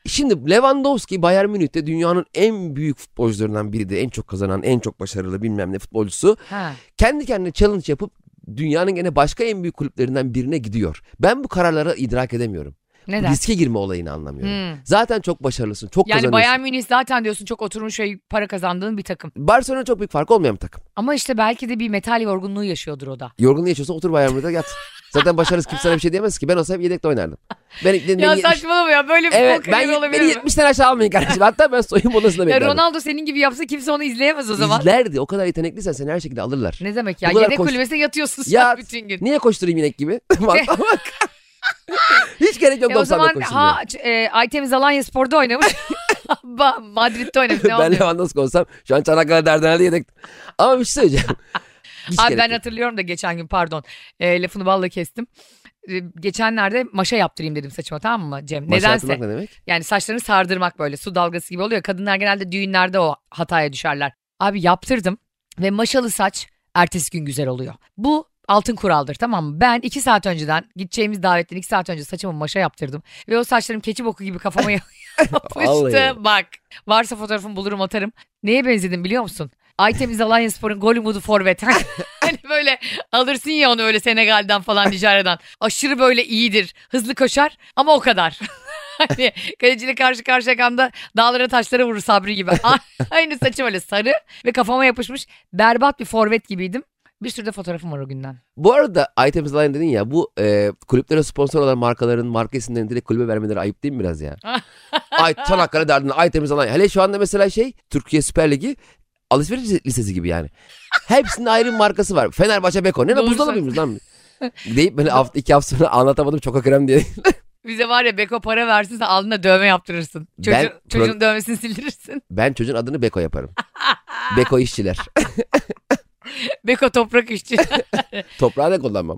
Speaker 2: Şimdi Lewandowski Bayern Münih'te dünyanın en büyük futbolcularından biridir. En çok kazanan, en çok başarılı bilmem ne futbolcusu.
Speaker 1: Ha.
Speaker 2: Kendi kendine challenge yapıp dünyanın gene başka en büyük kulüplerinden birine gidiyor. Ben bu kararlara idrak edemiyorum.
Speaker 1: Neden?
Speaker 2: Riske girme olayını anlamıyorum.
Speaker 1: Hmm.
Speaker 2: Zaten çok başarılısın, çok
Speaker 1: Yani
Speaker 2: kazanıyorsun.
Speaker 1: Bayern Münih zaten diyorsun çok oturmuş ve para kazandığın bir takım.
Speaker 2: Barcelona çok büyük fark olmayan bir takım.
Speaker 1: Ama işte belki de bir metal yorgunluğu yaşıyordur o da.
Speaker 2: Yorgunluğu yaşıyorsa otur Bayern Münih'te yat. Zaten başarısız kimse sana bir şey diyemez ki. Ben olsam yedekte oynardım. Ben, ben,
Speaker 1: Ya
Speaker 2: beni yetmiş-
Speaker 1: saçmalama ya böyle bir
Speaker 2: Evet
Speaker 1: bok
Speaker 2: ben
Speaker 1: ben,
Speaker 2: yet-
Speaker 1: olabilir
Speaker 2: beni
Speaker 1: mi?
Speaker 2: 70 tane aşağı almayın kardeşim. Hatta ben soyunma odasında
Speaker 1: Ya
Speaker 2: beklerdim.
Speaker 1: Ronaldo senin gibi yapsa kimse onu izleyemez o zaman.
Speaker 2: İzlerdi. O kadar yetenekliysen seni her şekilde alırlar.
Speaker 1: Ne demek ya?
Speaker 2: Bu kadar
Speaker 1: Yedek
Speaker 2: koş-
Speaker 1: kulübesine yatıyorsun sen
Speaker 2: Ya-
Speaker 1: bütün gün.
Speaker 2: Niye koşturayım inek gibi? Mantığa bak. Hiç gerek yok
Speaker 1: E o
Speaker 2: 90'da
Speaker 1: zaman
Speaker 2: koşturmaya.
Speaker 1: ha ç- e, Aytemiz Alanya Spor'da oynamış. Ba- Madrid'de oynamış ne
Speaker 2: ben
Speaker 1: oluyor?
Speaker 2: Lewandowski olsam şu an Çanakkale Derdener'de yedek. Ama bir şey söyleyeceğim. Hiç
Speaker 1: Abi
Speaker 2: gerek
Speaker 1: ben
Speaker 2: yok.
Speaker 1: hatırlıyorum da geçen gün pardon e, lafını balla kestim. E, geçenlerde maşa yaptırayım dedim saçıma tamam mı Cem?
Speaker 2: Maşa
Speaker 1: Nedense.
Speaker 2: atmak ne demek?
Speaker 1: Yani saçlarını sardırmak böyle su dalgası gibi oluyor. Kadınlar genelde düğünlerde o hataya düşerler. Abi yaptırdım ve maşalı saç ertesi gün güzel oluyor. Bu altın kuraldır tamam mı? Ben iki saat önceden gideceğimiz davetten iki saat önce saçımı maşa yaptırdım. Ve o saçlarım keçi boku gibi kafama yapıştı.
Speaker 2: Vallahi.
Speaker 1: Bak varsa fotoğrafımı bulurum atarım. Neye benzedim biliyor musun? Aytemiz Alanya Spor'un gol umudu forvet. hani böyle alırsın ya onu öyle Senegal'den falan Nijerya'dan. Aşırı böyle iyidir. Hızlı koşar ama o kadar. hani kaleciyle karşı karşıya kanda dağlara taşlara vurur Sabri gibi. Aynı saçım öyle sarı ve kafama yapışmış berbat bir forvet gibiydim. Bir sürü de fotoğrafım var o günden.
Speaker 2: Bu arada Items Line dedin ya bu e, kulüplere sponsor olan markaların marka isimlerini direkt kulübe vermeleri ayıp değil mi biraz ya? Ay Çanakkale derdinde Items Line. Hele şu anda mesela şey Türkiye Süper Ligi alışveriş lise- lisesi gibi yani. Hepsinin ayrı bir markası var. Fenerbahçe Beko. Ne lan
Speaker 1: Doğru
Speaker 2: buzdolabı mıymış lan? Deyip böyle hafta, iki hafta sonra anlatamadım çok krem diye.
Speaker 1: Bize var ya Beko para versin sen alnına dövme yaptırırsın. Çocuğu,
Speaker 2: Ben-
Speaker 1: çocuğun dövmesini sildirirsin.
Speaker 2: Ben çocuğun adını Beko yaparım. Beko işçiler.
Speaker 1: Beko toprak işçi.
Speaker 2: Toprağı da kullanmam.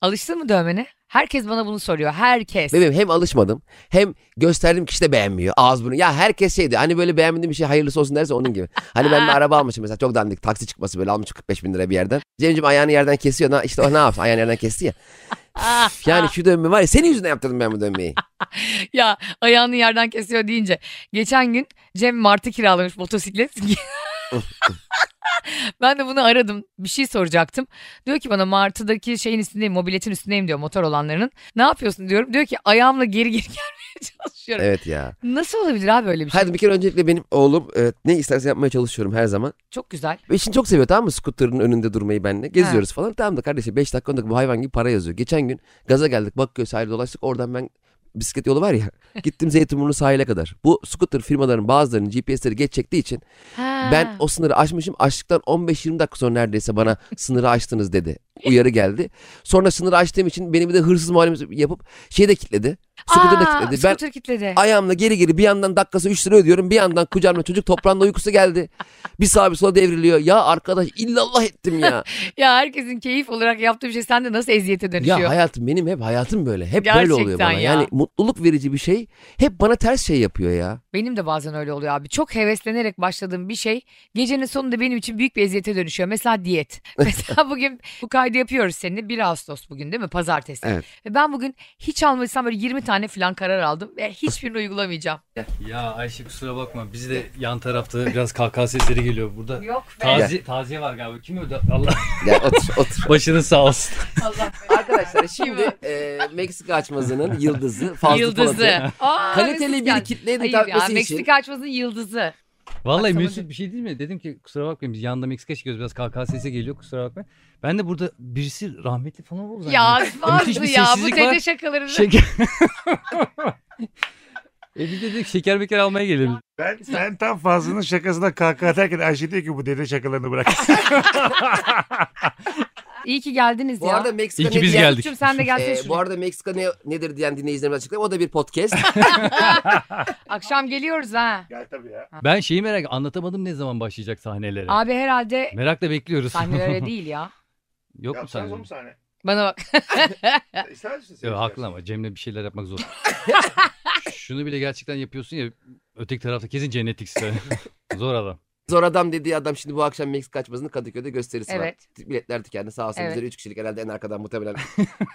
Speaker 1: Alıştın mı dövmene? Herkes bana bunu soruyor. Herkes.
Speaker 2: Bebeğim hem alışmadım hem gösterdiğim kişi de beğenmiyor. Ağız burnu. Ya herkes şeydi hani böyle beğenmediğim bir şey hayırlısı olsun derse onun gibi. Hani ben bir araba almışım mesela çok dandik taksi çıkması böyle almış 45 bin lira bir yerden. Cem'ciğim ayağını yerden kesiyor. Na- işte o ne yapsın ayağını yerden kesti ya.
Speaker 1: Ah!
Speaker 2: Üf, yani şu dönme var ya senin yüzünden yaptırdım ben bu dönmeyi.
Speaker 1: ya ayağını yerden kesiyor deyince. Geçen gün Cem Martı kiralamış motosiklet. ben de bunu aradım. Bir şey soracaktım. Diyor ki bana Martı'daki şeyin üstündeyim, mobiletin üstündeyim diyor motor olanlarının. Ne yapıyorsun diyorum. Diyor ki ayağımla geri geri gelmeye çalışıyorum.
Speaker 2: Evet ya.
Speaker 1: Nasıl olabilir abi öyle bir şey?
Speaker 2: Hadi bir kere öncelikle benim oğlum e, ne isterse yapmaya çalışıyorum her zaman.
Speaker 1: Çok güzel.
Speaker 2: Ve şimdi çok seviyor tamam mı? Scooter'ın önünde durmayı benle. Geziyoruz falan. Tamam da kardeşim 5 dakika 10 dakika bu hayvan gibi para yazıyor. Geçen gün gaza geldik Bakköy sahile dolaştık. Oradan ben bisiklet yolu var ya. Gittim Zeytinburnu sahile kadar. Bu scooter firmaların bazılarının GPS'leri geç çektiği için
Speaker 1: Ha.
Speaker 2: ben o sınırı aşmışım. Aştıktan 15-20 dakika sonra neredeyse bana sınırı aştınız dedi. Uyarı geldi. Sonra sınırı aştığım için beni bir de hırsız muamelesi yapıp şeyi de kilitledi. Scooter'ı da
Speaker 1: Aa,
Speaker 2: kilitledi. Ben
Speaker 1: Scooter kilitledi.
Speaker 2: ayağımla geri geri bir yandan dakikası 3 lira ödüyorum. Bir yandan kucağımda çocuk toprağında uykusu geldi. Bir sağa bir sola devriliyor. Ya arkadaş illallah ettim ya.
Speaker 1: Ya herkesin keyif olarak yaptığı bir şey sende nasıl eziyete dönüşüyor?
Speaker 2: ya hayatım benim hep hayatım böyle. Hep böyle oluyor
Speaker 1: Gerçekten
Speaker 2: bana.
Speaker 1: ya.
Speaker 2: Yani mutluluk verici bir şey hep bana ters şey yapıyor ya.
Speaker 1: Benim de bazen öyle oluyor abi. Çok heveslenerek başladığım bir şey gecenin sonunda benim için büyük bir eziyete dönüşüyor. Mesela diyet. Mesela bugün bu kaydı yapıyoruz seninle. 1 Ağustos bugün değil mi? Pazartesi.
Speaker 2: Evet.
Speaker 1: Ve ben bugün hiç almaysam böyle 20 tane falan karar aldım. Ve hiçbirini uygulamayacağım.
Speaker 3: Ya Ayşe kusura bakma biz de yan tarafta biraz kahkaha sesleri geliyor burada.
Speaker 1: Yok
Speaker 3: Tazi, taziye var galiba. Kim öldü? Allah
Speaker 2: Gel otur otur.
Speaker 3: başının sağ olsun.
Speaker 1: Allah
Speaker 2: Arkadaşlar şimdi e, Meksika açmazının yıldızı Fazlı Polat'ı.
Speaker 1: Yıldızı. Aa,
Speaker 2: Kaliteli
Speaker 1: Mesut
Speaker 2: bir
Speaker 1: geldi.
Speaker 2: kitleye de
Speaker 1: Hayır
Speaker 2: hitap
Speaker 1: ya
Speaker 2: etmesi için.
Speaker 1: Meksika açmasının yıldızı.
Speaker 3: Vallahi
Speaker 1: Akşama
Speaker 3: Mesut
Speaker 1: dön-
Speaker 3: bir şey değil mi? Dedim ki kusura bakmayın biz yanda Meksika çıkıyoruz biraz kahkaha sesi geliyor kusura bakmayın. Ben de burada birisi rahmetli falan oldu
Speaker 1: Ya
Speaker 3: Müthiş
Speaker 1: fazla
Speaker 3: bir
Speaker 1: ya bu
Speaker 3: sessizlik var.
Speaker 1: dede şakalarını.
Speaker 2: Şey-
Speaker 3: Şeker. e bir dedik şeker beker almaya gelelim.
Speaker 4: Ben, ben tam Fazlı'nın şakasına kahkaha atarken Ayşe diyor ki bu dede şakalarını bırak.
Speaker 1: İyi ki geldiniz
Speaker 2: Bu
Speaker 1: ya.
Speaker 2: arada Meksika
Speaker 3: İyi ki
Speaker 2: ne
Speaker 3: biz
Speaker 2: diyen-
Speaker 3: geldik.
Speaker 1: Mesut'cum sen de gelsene
Speaker 2: E,
Speaker 1: şuraya.
Speaker 2: bu arada Meksika ne, nedir diyen dinleyicilerimiz açıklayayım. O da bir podcast.
Speaker 1: Akşam geliyoruz ha.
Speaker 4: Gel tabii ya.
Speaker 3: Ben şeyi merak anlatamadım ne zaman başlayacak sahnelere.
Speaker 1: Abi herhalde
Speaker 3: Merakla bekliyoruz.
Speaker 1: sahne öyle değil ya.
Speaker 3: Yok mu sahne?
Speaker 4: sahne.
Speaker 1: Bana bak.
Speaker 4: İster misin
Speaker 3: Yok Ee, haklı ama Cem'le bir şeyler yapmak zor. Şunu bile gerçekten yapıyorsun ya öteki tarafta kesin cennetlik size. zor adam.
Speaker 2: Zor adam dediği adam şimdi bu akşam Meksika açmasını Kadıköy'de gösterisi var.
Speaker 1: Evet.
Speaker 2: Biletler tükendi sağ olsun.
Speaker 1: Evet.
Speaker 2: Bizleri üç kişilik herhalde en arkadan muhtemelen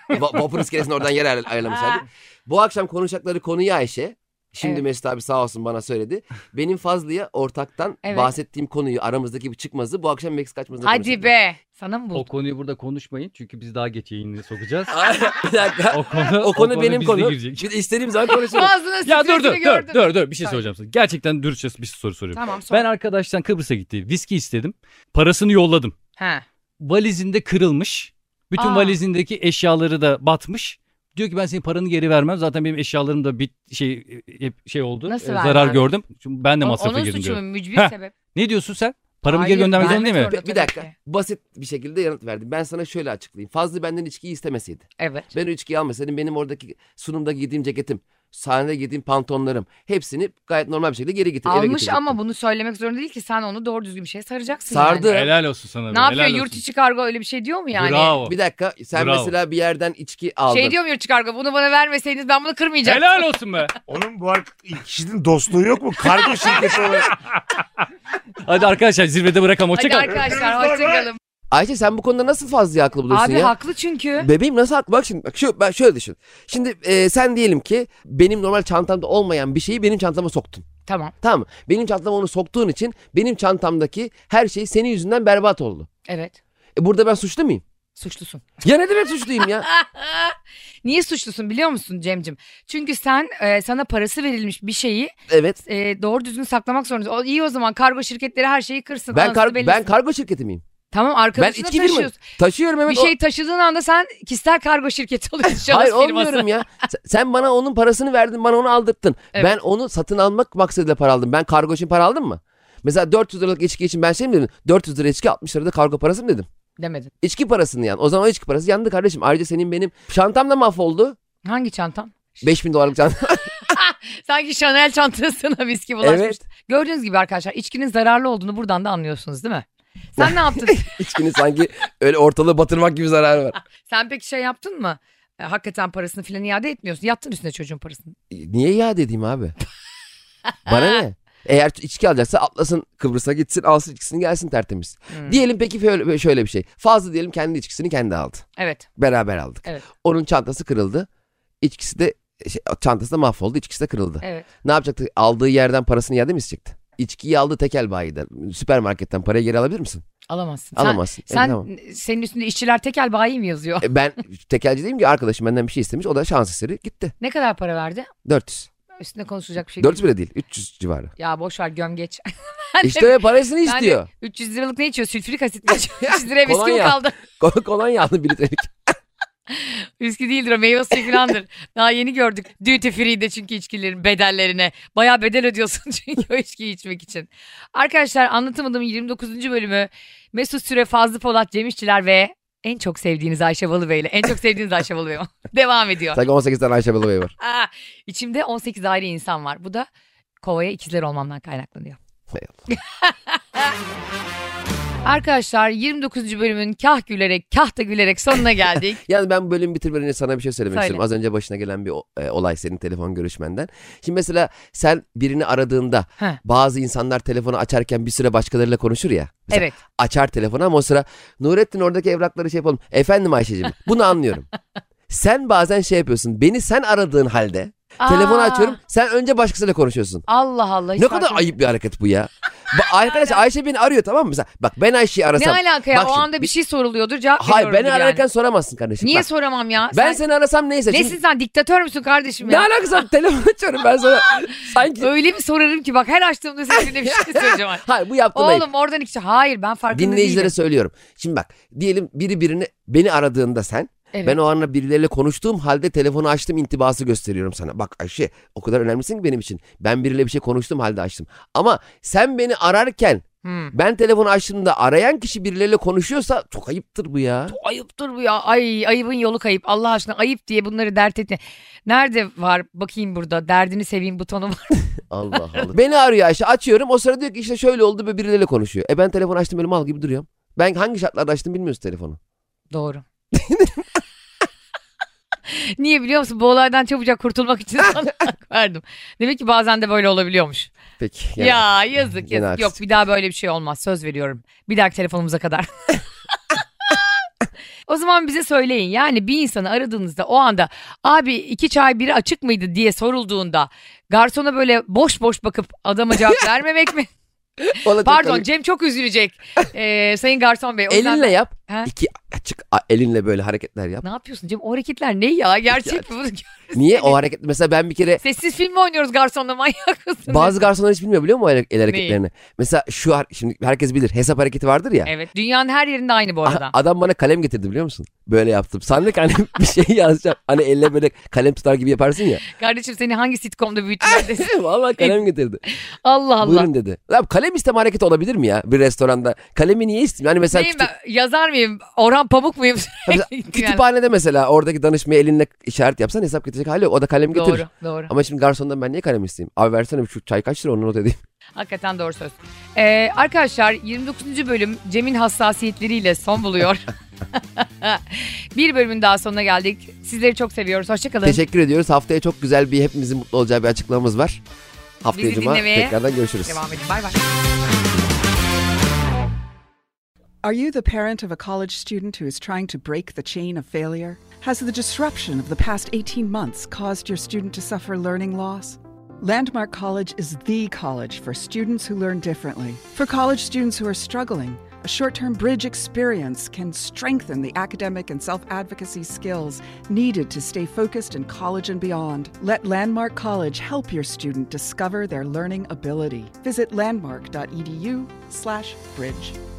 Speaker 2: va- vapur iskelesinin oradan yer ayar- ayarlamış herhalde. Bu akşam konuşacakları konuyu Ayşe. Şimdi
Speaker 1: Evet.
Speaker 2: Mesut abi sağ olsun bana söyledi. Benim Fazlı'ya ortaktan
Speaker 1: Evet.
Speaker 2: bahsettiğim konuyu aramızdaki bir çıkmazı bu akşam Meksika açmasını
Speaker 1: Hadi be. Sana mı
Speaker 3: O
Speaker 1: buldun?
Speaker 3: konuyu burada konuşmayın çünkü biz daha geç yayını sokacağız.
Speaker 2: bir dakika.
Speaker 3: o konu,
Speaker 2: O konu benim
Speaker 3: bizde
Speaker 2: konu.
Speaker 3: girecek.
Speaker 2: Bir de istediğim zaman konuşuruz.
Speaker 1: Ağzına
Speaker 3: Ya dur dur
Speaker 1: sıkıştığını
Speaker 3: dur
Speaker 1: gördüm.
Speaker 3: dur dur bir şey
Speaker 1: Tamam.
Speaker 3: soracağım sana. Gerçekten dürüstçe bir soru soruyorum.
Speaker 1: Tamam sor.
Speaker 3: Ben arkadaştan Kıbrıs'a gitti. Viski istedim. Parasını yolladım.
Speaker 1: Ha.
Speaker 3: Valizinde kırılmış. Bütün
Speaker 1: Aa.
Speaker 3: valizindeki eşyaları da batmış. Diyor ki ben senin paranı geri vermem. Zaten benim eşyalarım da bit şey e, hep şey oldu.
Speaker 1: Nasıl
Speaker 3: E,
Speaker 1: vermem?
Speaker 3: zarar gördüm. Çünkü ben de
Speaker 1: O-
Speaker 3: masrafa
Speaker 1: Onun
Speaker 3: girdim
Speaker 1: suçu
Speaker 3: diyor.
Speaker 1: mu? Mücbir
Speaker 3: Heh.
Speaker 1: sebep.
Speaker 3: Ne diyorsun sen? Paramı
Speaker 1: Hayır,
Speaker 3: geri göndermek
Speaker 1: vermek
Speaker 3: zorunda değil mi?
Speaker 1: zorunda.
Speaker 2: bir
Speaker 1: Tabii
Speaker 2: dakika.
Speaker 1: ki.
Speaker 2: Basit bir şekilde yanıt verdim. Ben sana şöyle açıklayayım. Fazlı benden içkiyi istemeseydi.
Speaker 1: Evet.
Speaker 2: Ben o içkiyi almasaydım benim oradaki sunumda giydiğim ceketim, sahnede giydiğim pantolonlarım hepsini gayet normal bir şekilde geri getir. eve
Speaker 1: Almış
Speaker 2: getirecektim.
Speaker 1: ama bunu söylemek zorunda değil ki sen onu doğru düzgün bir şeye saracaksın.
Speaker 2: Sardı.
Speaker 1: yani.
Speaker 3: Helal olsun sana. be,
Speaker 1: Ne yapıyor
Speaker 3: helal
Speaker 1: yurt
Speaker 3: olsun.
Speaker 1: içi kargo öyle bir şey diyor mu yani?
Speaker 3: Bravo.
Speaker 2: Bir dakika sen
Speaker 3: Bravo.
Speaker 2: mesela bir yerden içki aldın.
Speaker 1: Şey diyor mu yurt içi kargo bunu bana vermeseydiniz ben bunu kırmayacaktım.
Speaker 3: Helal olsun be.
Speaker 4: Onun bu ar- kişinin dostluğu yok mu? Kargo şirketi olarak.
Speaker 3: Hadi arkadaşlar zirvede bırakalım.
Speaker 1: Hadi
Speaker 3: Hoşçakalın.
Speaker 1: arkadaşlar hoşçakalın.
Speaker 2: Ayşe sen bu konuda nasıl fazla haklı buluyorsun
Speaker 1: Abi
Speaker 2: ya?
Speaker 1: haklı çünkü.
Speaker 2: Bebeğim nasıl haklı? Bak şimdi bak şu, ben şöyle düşün. Şimdi e, sen diyelim ki benim normal çantamda olmayan bir şeyi benim çantama soktun.
Speaker 1: Tamam
Speaker 2: Tamam mı? Benim çantama onu soktuğun için benim çantamdaki her şey senin yüzünden berbat oldu.
Speaker 1: evet
Speaker 2: E burada ben suçlu muyum?
Speaker 1: suçlusun.
Speaker 2: Ya ne demek suçluyum ya?
Speaker 1: Niye suçlusun biliyor musun Cemcim? Çünkü sen e, sana parası verilmiş bir şeyi
Speaker 2: Evet.
Speaker 1: e, doğru düzgün saklamak zorundasın. O, iyi o zaman kargo şirketleri her şeyi kırsın.
Speaker 2: Ben,
Speaker 1: anasını
Speaker 2: kar-
Speaker 1: bellesin.
Speaker 2: ben kargo şirketi miyim?
Speaker 1: Tamam arkadaşına
Speaker 2: ben içki firma-
Speaker 1: taşıyorsun.
Speaker 2: Taşıyorum evet.
Speaker 1: Bir şey taşıdığın anda sen kişisel kargo şirketi oluyorsun. şahıs
Speaker 2: Hayır
Speaker 1: firması.
Speaker 2: olmuyorum ya. Sen- Sen bana onun parasını verdin, bana onu aldırttın.
Speaker 1: Evet.
Speaker 2: Ben onu satın almak maksadıyla para aldım. Ben kargo için para aldım mı? Mesela 400 liralık içki için ben şey mi dedim? 400 lira içki 60 lira da kargo parası mı dedim?
Speaker 1: Demedin.
Speaker 2: İçki parasını yani. O zaman o içki parası yandı kardeşim. Ayrıca senin benim çantam da mahvoldu.
Speaker 1: Hangi çantan?
Speaker 2: 5000 dolarlık çantam.
Speaker 1: Sanki Chanel çantasına viski bulaşmış.
Speaker 2: Evet.
Speaker 1: Gördüğünüz gibi arkadaşlar içkinin zararlı olduğunu buradan da anlıyorsunuz değil mi? Sen ne yaptın?
Speaker 2: İçkinin sanki öyle ortalığı batırmak gibi zararı var.
Speaker 1: Sen peki şey yaptın mı? E, hakikaten parasını filan iade etmiyorsun. Yattın üstüne çocuğun parasını.
Speaker 2: E, Niye ya dediğim abi? Bana ne? Eğer içki alacaksa atlasın Kıbrıs'a gitsin alsın içkisini gelsin tertemiz.
Speaker 1: Hmm.
Speaker 2: Diyelim peki şöyle, şöyle bir şey. Fazla diyelim kendi içkisini kendi aldı.
Speaker 1: Evet.
Speaker 2: Beraber aldık.
Speaker 1: Evet.
Speaker 2: Onun çantası kırıldı. İçkisi de şey, çantası da mahvoldu. içkisi de kırıldı.
Speaker 1: Evet.
Speaker 2: Ne yapacaktı? Aldığı yerden parasını yerde mi isteyecekti? İçkiyi aldığı tekel bayiden, süpermarketten parayı geri alabilir misin?
Speaker 1: Alamazsın.
Speaker 2: Alamazsın. E,
Speaker 1: Sen, sen
Speaker 2: tamam.
Speaker 1: senin üstünde işçiler tekel bayi mi yazıyor?
Speaker 2: E, ben tekelci değilim ki arkadaşım benden bir şey istemiş. O da şans eseri gitti.
Speaker 1: Ne kadar para verdi?
Speaker 2: 400.
Speaker 1: Üstüne konuşulacak bir şey
Speaker 2: 400 bile değil. 300 civarı.
Speaker 1: Ya boş ver göm geç.
Speaker 2: işte parasını
Speaker 1: de-
Speaker 2: istiyor.
Speaker 1: 300 liralık ne içiyor? Sülfürik asit mi içiyor? 300 liraya viski mi
Speaker 2: Kolonya.
Speaker 1: kaldı?
Speaker 2: Kol- Kolonya aldı 1 litrelik.
Speaker 1: Viski değildir o meyve suyu filandır. Daha yeni gördük. Duty free'de çünkü içkilerin bedellerine. Bayağı bedel ödüyorsun çünkü o içkiyi içmek için. Arkadaşlar anlatamadığım 29. bölümü Mesut Süre, Fazlı Polat, Cem İşçiler ve en çok sevdiğiniz Ayşe Balıbey ile en çok sevdiğiniz Ayşe Balıbey devam ediyor.
Speaker 2: Sanki 18 tane Ayşe Balıbey var.
Speaker 1: Aa, içimde 18 ayrı insan var. Bu da kovaya ikizler olmamdan kaynaklanıyor.
Speaker 2: Hay
Speaker 1: Arkadaşlar 29. bölümün kah gülerek kah da gülerek sonuna geldik.
Speaker 2: Yani ben bu bölümü bitirmeden önce sana bir şey söylemek
Speaker 1: Söyle.
Speaker 2: istiyorum. Az önce başına gelen bir o- e, olay senin telefon görüşmenden. Şimdi mesela sen birini aradığında
Speaker 1: Heh.
Speaker 2: bazı insanlar telefonu açarken bir süre başkalarıyla konuşur ya. Mesela
Speaker 1: evet.
Speaker 2: Açar telefonu ama o sıra Nurettin oradaki evrakları şey yapalım. Efendim Ayşe'cim bunu anlıyorum. sen bazen şey yapıyorsun. Beni sen aradığın halde telefonu
Speaker 1: Aa,
Speaker 2: açıyorum. Sen önce başkasıyla konuşuyorsun.
Speaker 1: Allah Allah. hiç
Speaker 2: ne
Speaker 1: fark
Speaker 2: kadar
Speaker 1: etmedim.
Speaker 2: ayıp bir hareket bu ya. Ba- arkadaş Ayşe beni arıyor tamam mı? Mesela, bak ben Ayşe'yi
Speaker 1: Ne
Speaker 2: arasam.
Speaker 1: alaka ya?
Speaker 2: Bak
Speaker 1: o
Speaker 2: şimdi,
Speaker 1: anda bir şey soruluyordur cevap
Speaker 2: Hayır ben
Speaker 1: veriyorumdur yani.
Speaker 2: ararken soramazsın kardeşim.
Speaker 1: Niye
Speaker 2: Bak,
Speaker 1: soramam ya?
Speaker 2: ben
Speaker 1: sen,
Speaker 2: seni arasam neyse. Çünkü-
Speaker 1: nesin sen diktatör müsün kardeşim
Speaker 2: Ne
Speaker 1: ya?
Speaker 2: alakası var? Telefon açıyorum ben sana. Sanki.
Speaker 1: Öyle bir sorarım ki bak her açtığımda sesinde bir şey söyleyeceğim.
Speaker 2: Hayır bu yaptığın ayıp.
Speaker 1: Oğlum oradan iki şey- Hayır ben farkında
Speaker 2: Dinleyicilere
Speaker 1: değilim.
Speaker 2: söylüyorum. Şimdi bak diyelim biri birini beni aradığında sen
Speaker 1: Evet.
Speaker 2: ben o anda birileriyle konuştuğum halde telefonu açtım intibası gösteriyorum sana. Bak Ayşe o kadar önemlisin ki benim için. Ben biriyle bir şey konuştuğum halde açtım. Ama sen beni ararken
Speaker 1: Hmm.
Speaker 2: ben telefonu açtığımda arayan kişi birileriyle konuşuyorsa çok ayıptır bu ya.
Speaker 1: Ayıptır bu ya. Ay ayıbın yolu kayıp. Allah aşkına ayıp diye bunları dert etme. Nerede var? Bakayım burada. Derdini seveyim butonu var.
Speaker 2: Allah Allah. Beni arıyor Ayşe açıyorum o sırada diyor ki işte şöyle oldu ve birileriyle konuşuyor. E ben telefonu açtım böyle mal gibi duruyorum. Ben hangi şartlarda açtım bilmiyoruz telefonu.
Speaker 1: Doğru. Niye biliyor musun? Bu olaydan çabucak kurtulmak için sana hak verdim. Demek ki bazen de böyle olabiliyormuş.
Speaker 2: Peki. yani-
Speaker 1: Ya yazık
Speaker 2: Gene
Speaker 1: yazık. Yok
Speaker 2: haksızlık.
Speaker 1: bir daha böyle bir şey olmaz. Söz veriyorum. Bir dahaki telefonumuza kadar. o zaman bize söyleyin. Yani bir insanı aradığınızda o anda abi iki çay biri açık mıydı diye sorulduğunda garsona böyle boş boş bakıp adama cevap vermemek mi?
Speaker 2: Ona
Speaker 1: Pardon
Speaker 2: tekrar-
Speaker 1: Cem çok üzülecek. Ee, sayın garson bey. o yüzden-
Speaker 2: Elinle yap.
Speaker 1: He?
Speaker 2: İki açık a- elinle böyle hareketler yap.
Speaker 1: Ne yapıyorsun Cem? O hareketler ne ya? Gerçek mi?
Speaker 2: Niye o hareket? Mesela ben bir kere
Speaker 1: Sessiz film mi oynuyoruz garsonla manyak mısın?
Speaker 2: bazı garsonlar hiç bilmiyor biliyor musun o hare- el hareketlerini? Mesela şu har- şimdi herkes bilir hesap hareketi vardır ya.
Speaker 1: Evet. Dünyanın her yerinde aynı bu arada.
Speaker 2: Aha, Adam bana kalem getirdi biliyor musun? Böyle yaptım. Sandık hani bir şey yazacağım. Hani elle böyle kalem tutar gibi yaparsın ya.
Speaker 1: Kardeşim seni hangi sitcomda büyüttüler desin.
Speaker 2: Vallahi kalem getirdi.
Speaker 1: Allah Allah.
Speaker 2: Buyurun dedi. Lan kalem isteme hareketi olabilir mi ya bir restoranda? Kalemi niye isteyeyim? Yani mesela
Speaker 1: Neyim
Speaker 2: kütü-
Speaker 1: ben? Yazar mıyım? Orhan Pamuk muyum?
Speaker 2: mesela
Speaker 1: Yani
Speaker 2: kütüphanede mesela oradaki danışmaya elinle işaret yapsan hesap getirecek hali yok. O da kalem getirir.
Speaker 1: doğru, doğru.
Speaker 2: Ama şimdi garsondan ben niye kalem isteyeyim? Abi versene şu çay kaç lira onu not edeyim.
Speaker 1: Hakikaten doğru söz. Ee, arkadaşlar 29. bölüm Cem'in hassasiyetleriyle son buluyor. bir bölümün daha sonuna geldik. Sizleri çok seviyoruz. Hoşçakalın.
Speaker 2: Teşekkür ediyoruz. Haftaya çok güzel bir hepimizin mutlu olacağı bir açıklamamız var. Haftaya
Speaker 1: Bizi
Speaker 2: cuma
Speaker 1: dinlemeye
Speaker 2: tekrardan görüşürüz.
Speaker 1: Devam edin. Bay bay.
Speaker 5: Are you the parent of a college student who is trying to break the chain of failure? Has the disruption of the past 18 months caused your student to suffer learning loss? Landmark College is the college for students who learn differently. For college students who are struggling, a short term bridge experience can strengthen the academic and self advocacy skills needed to stay focused in college and beyond. Let Landmark College help your E student discover their learning ability. Visit landmark.edu/slash bridge.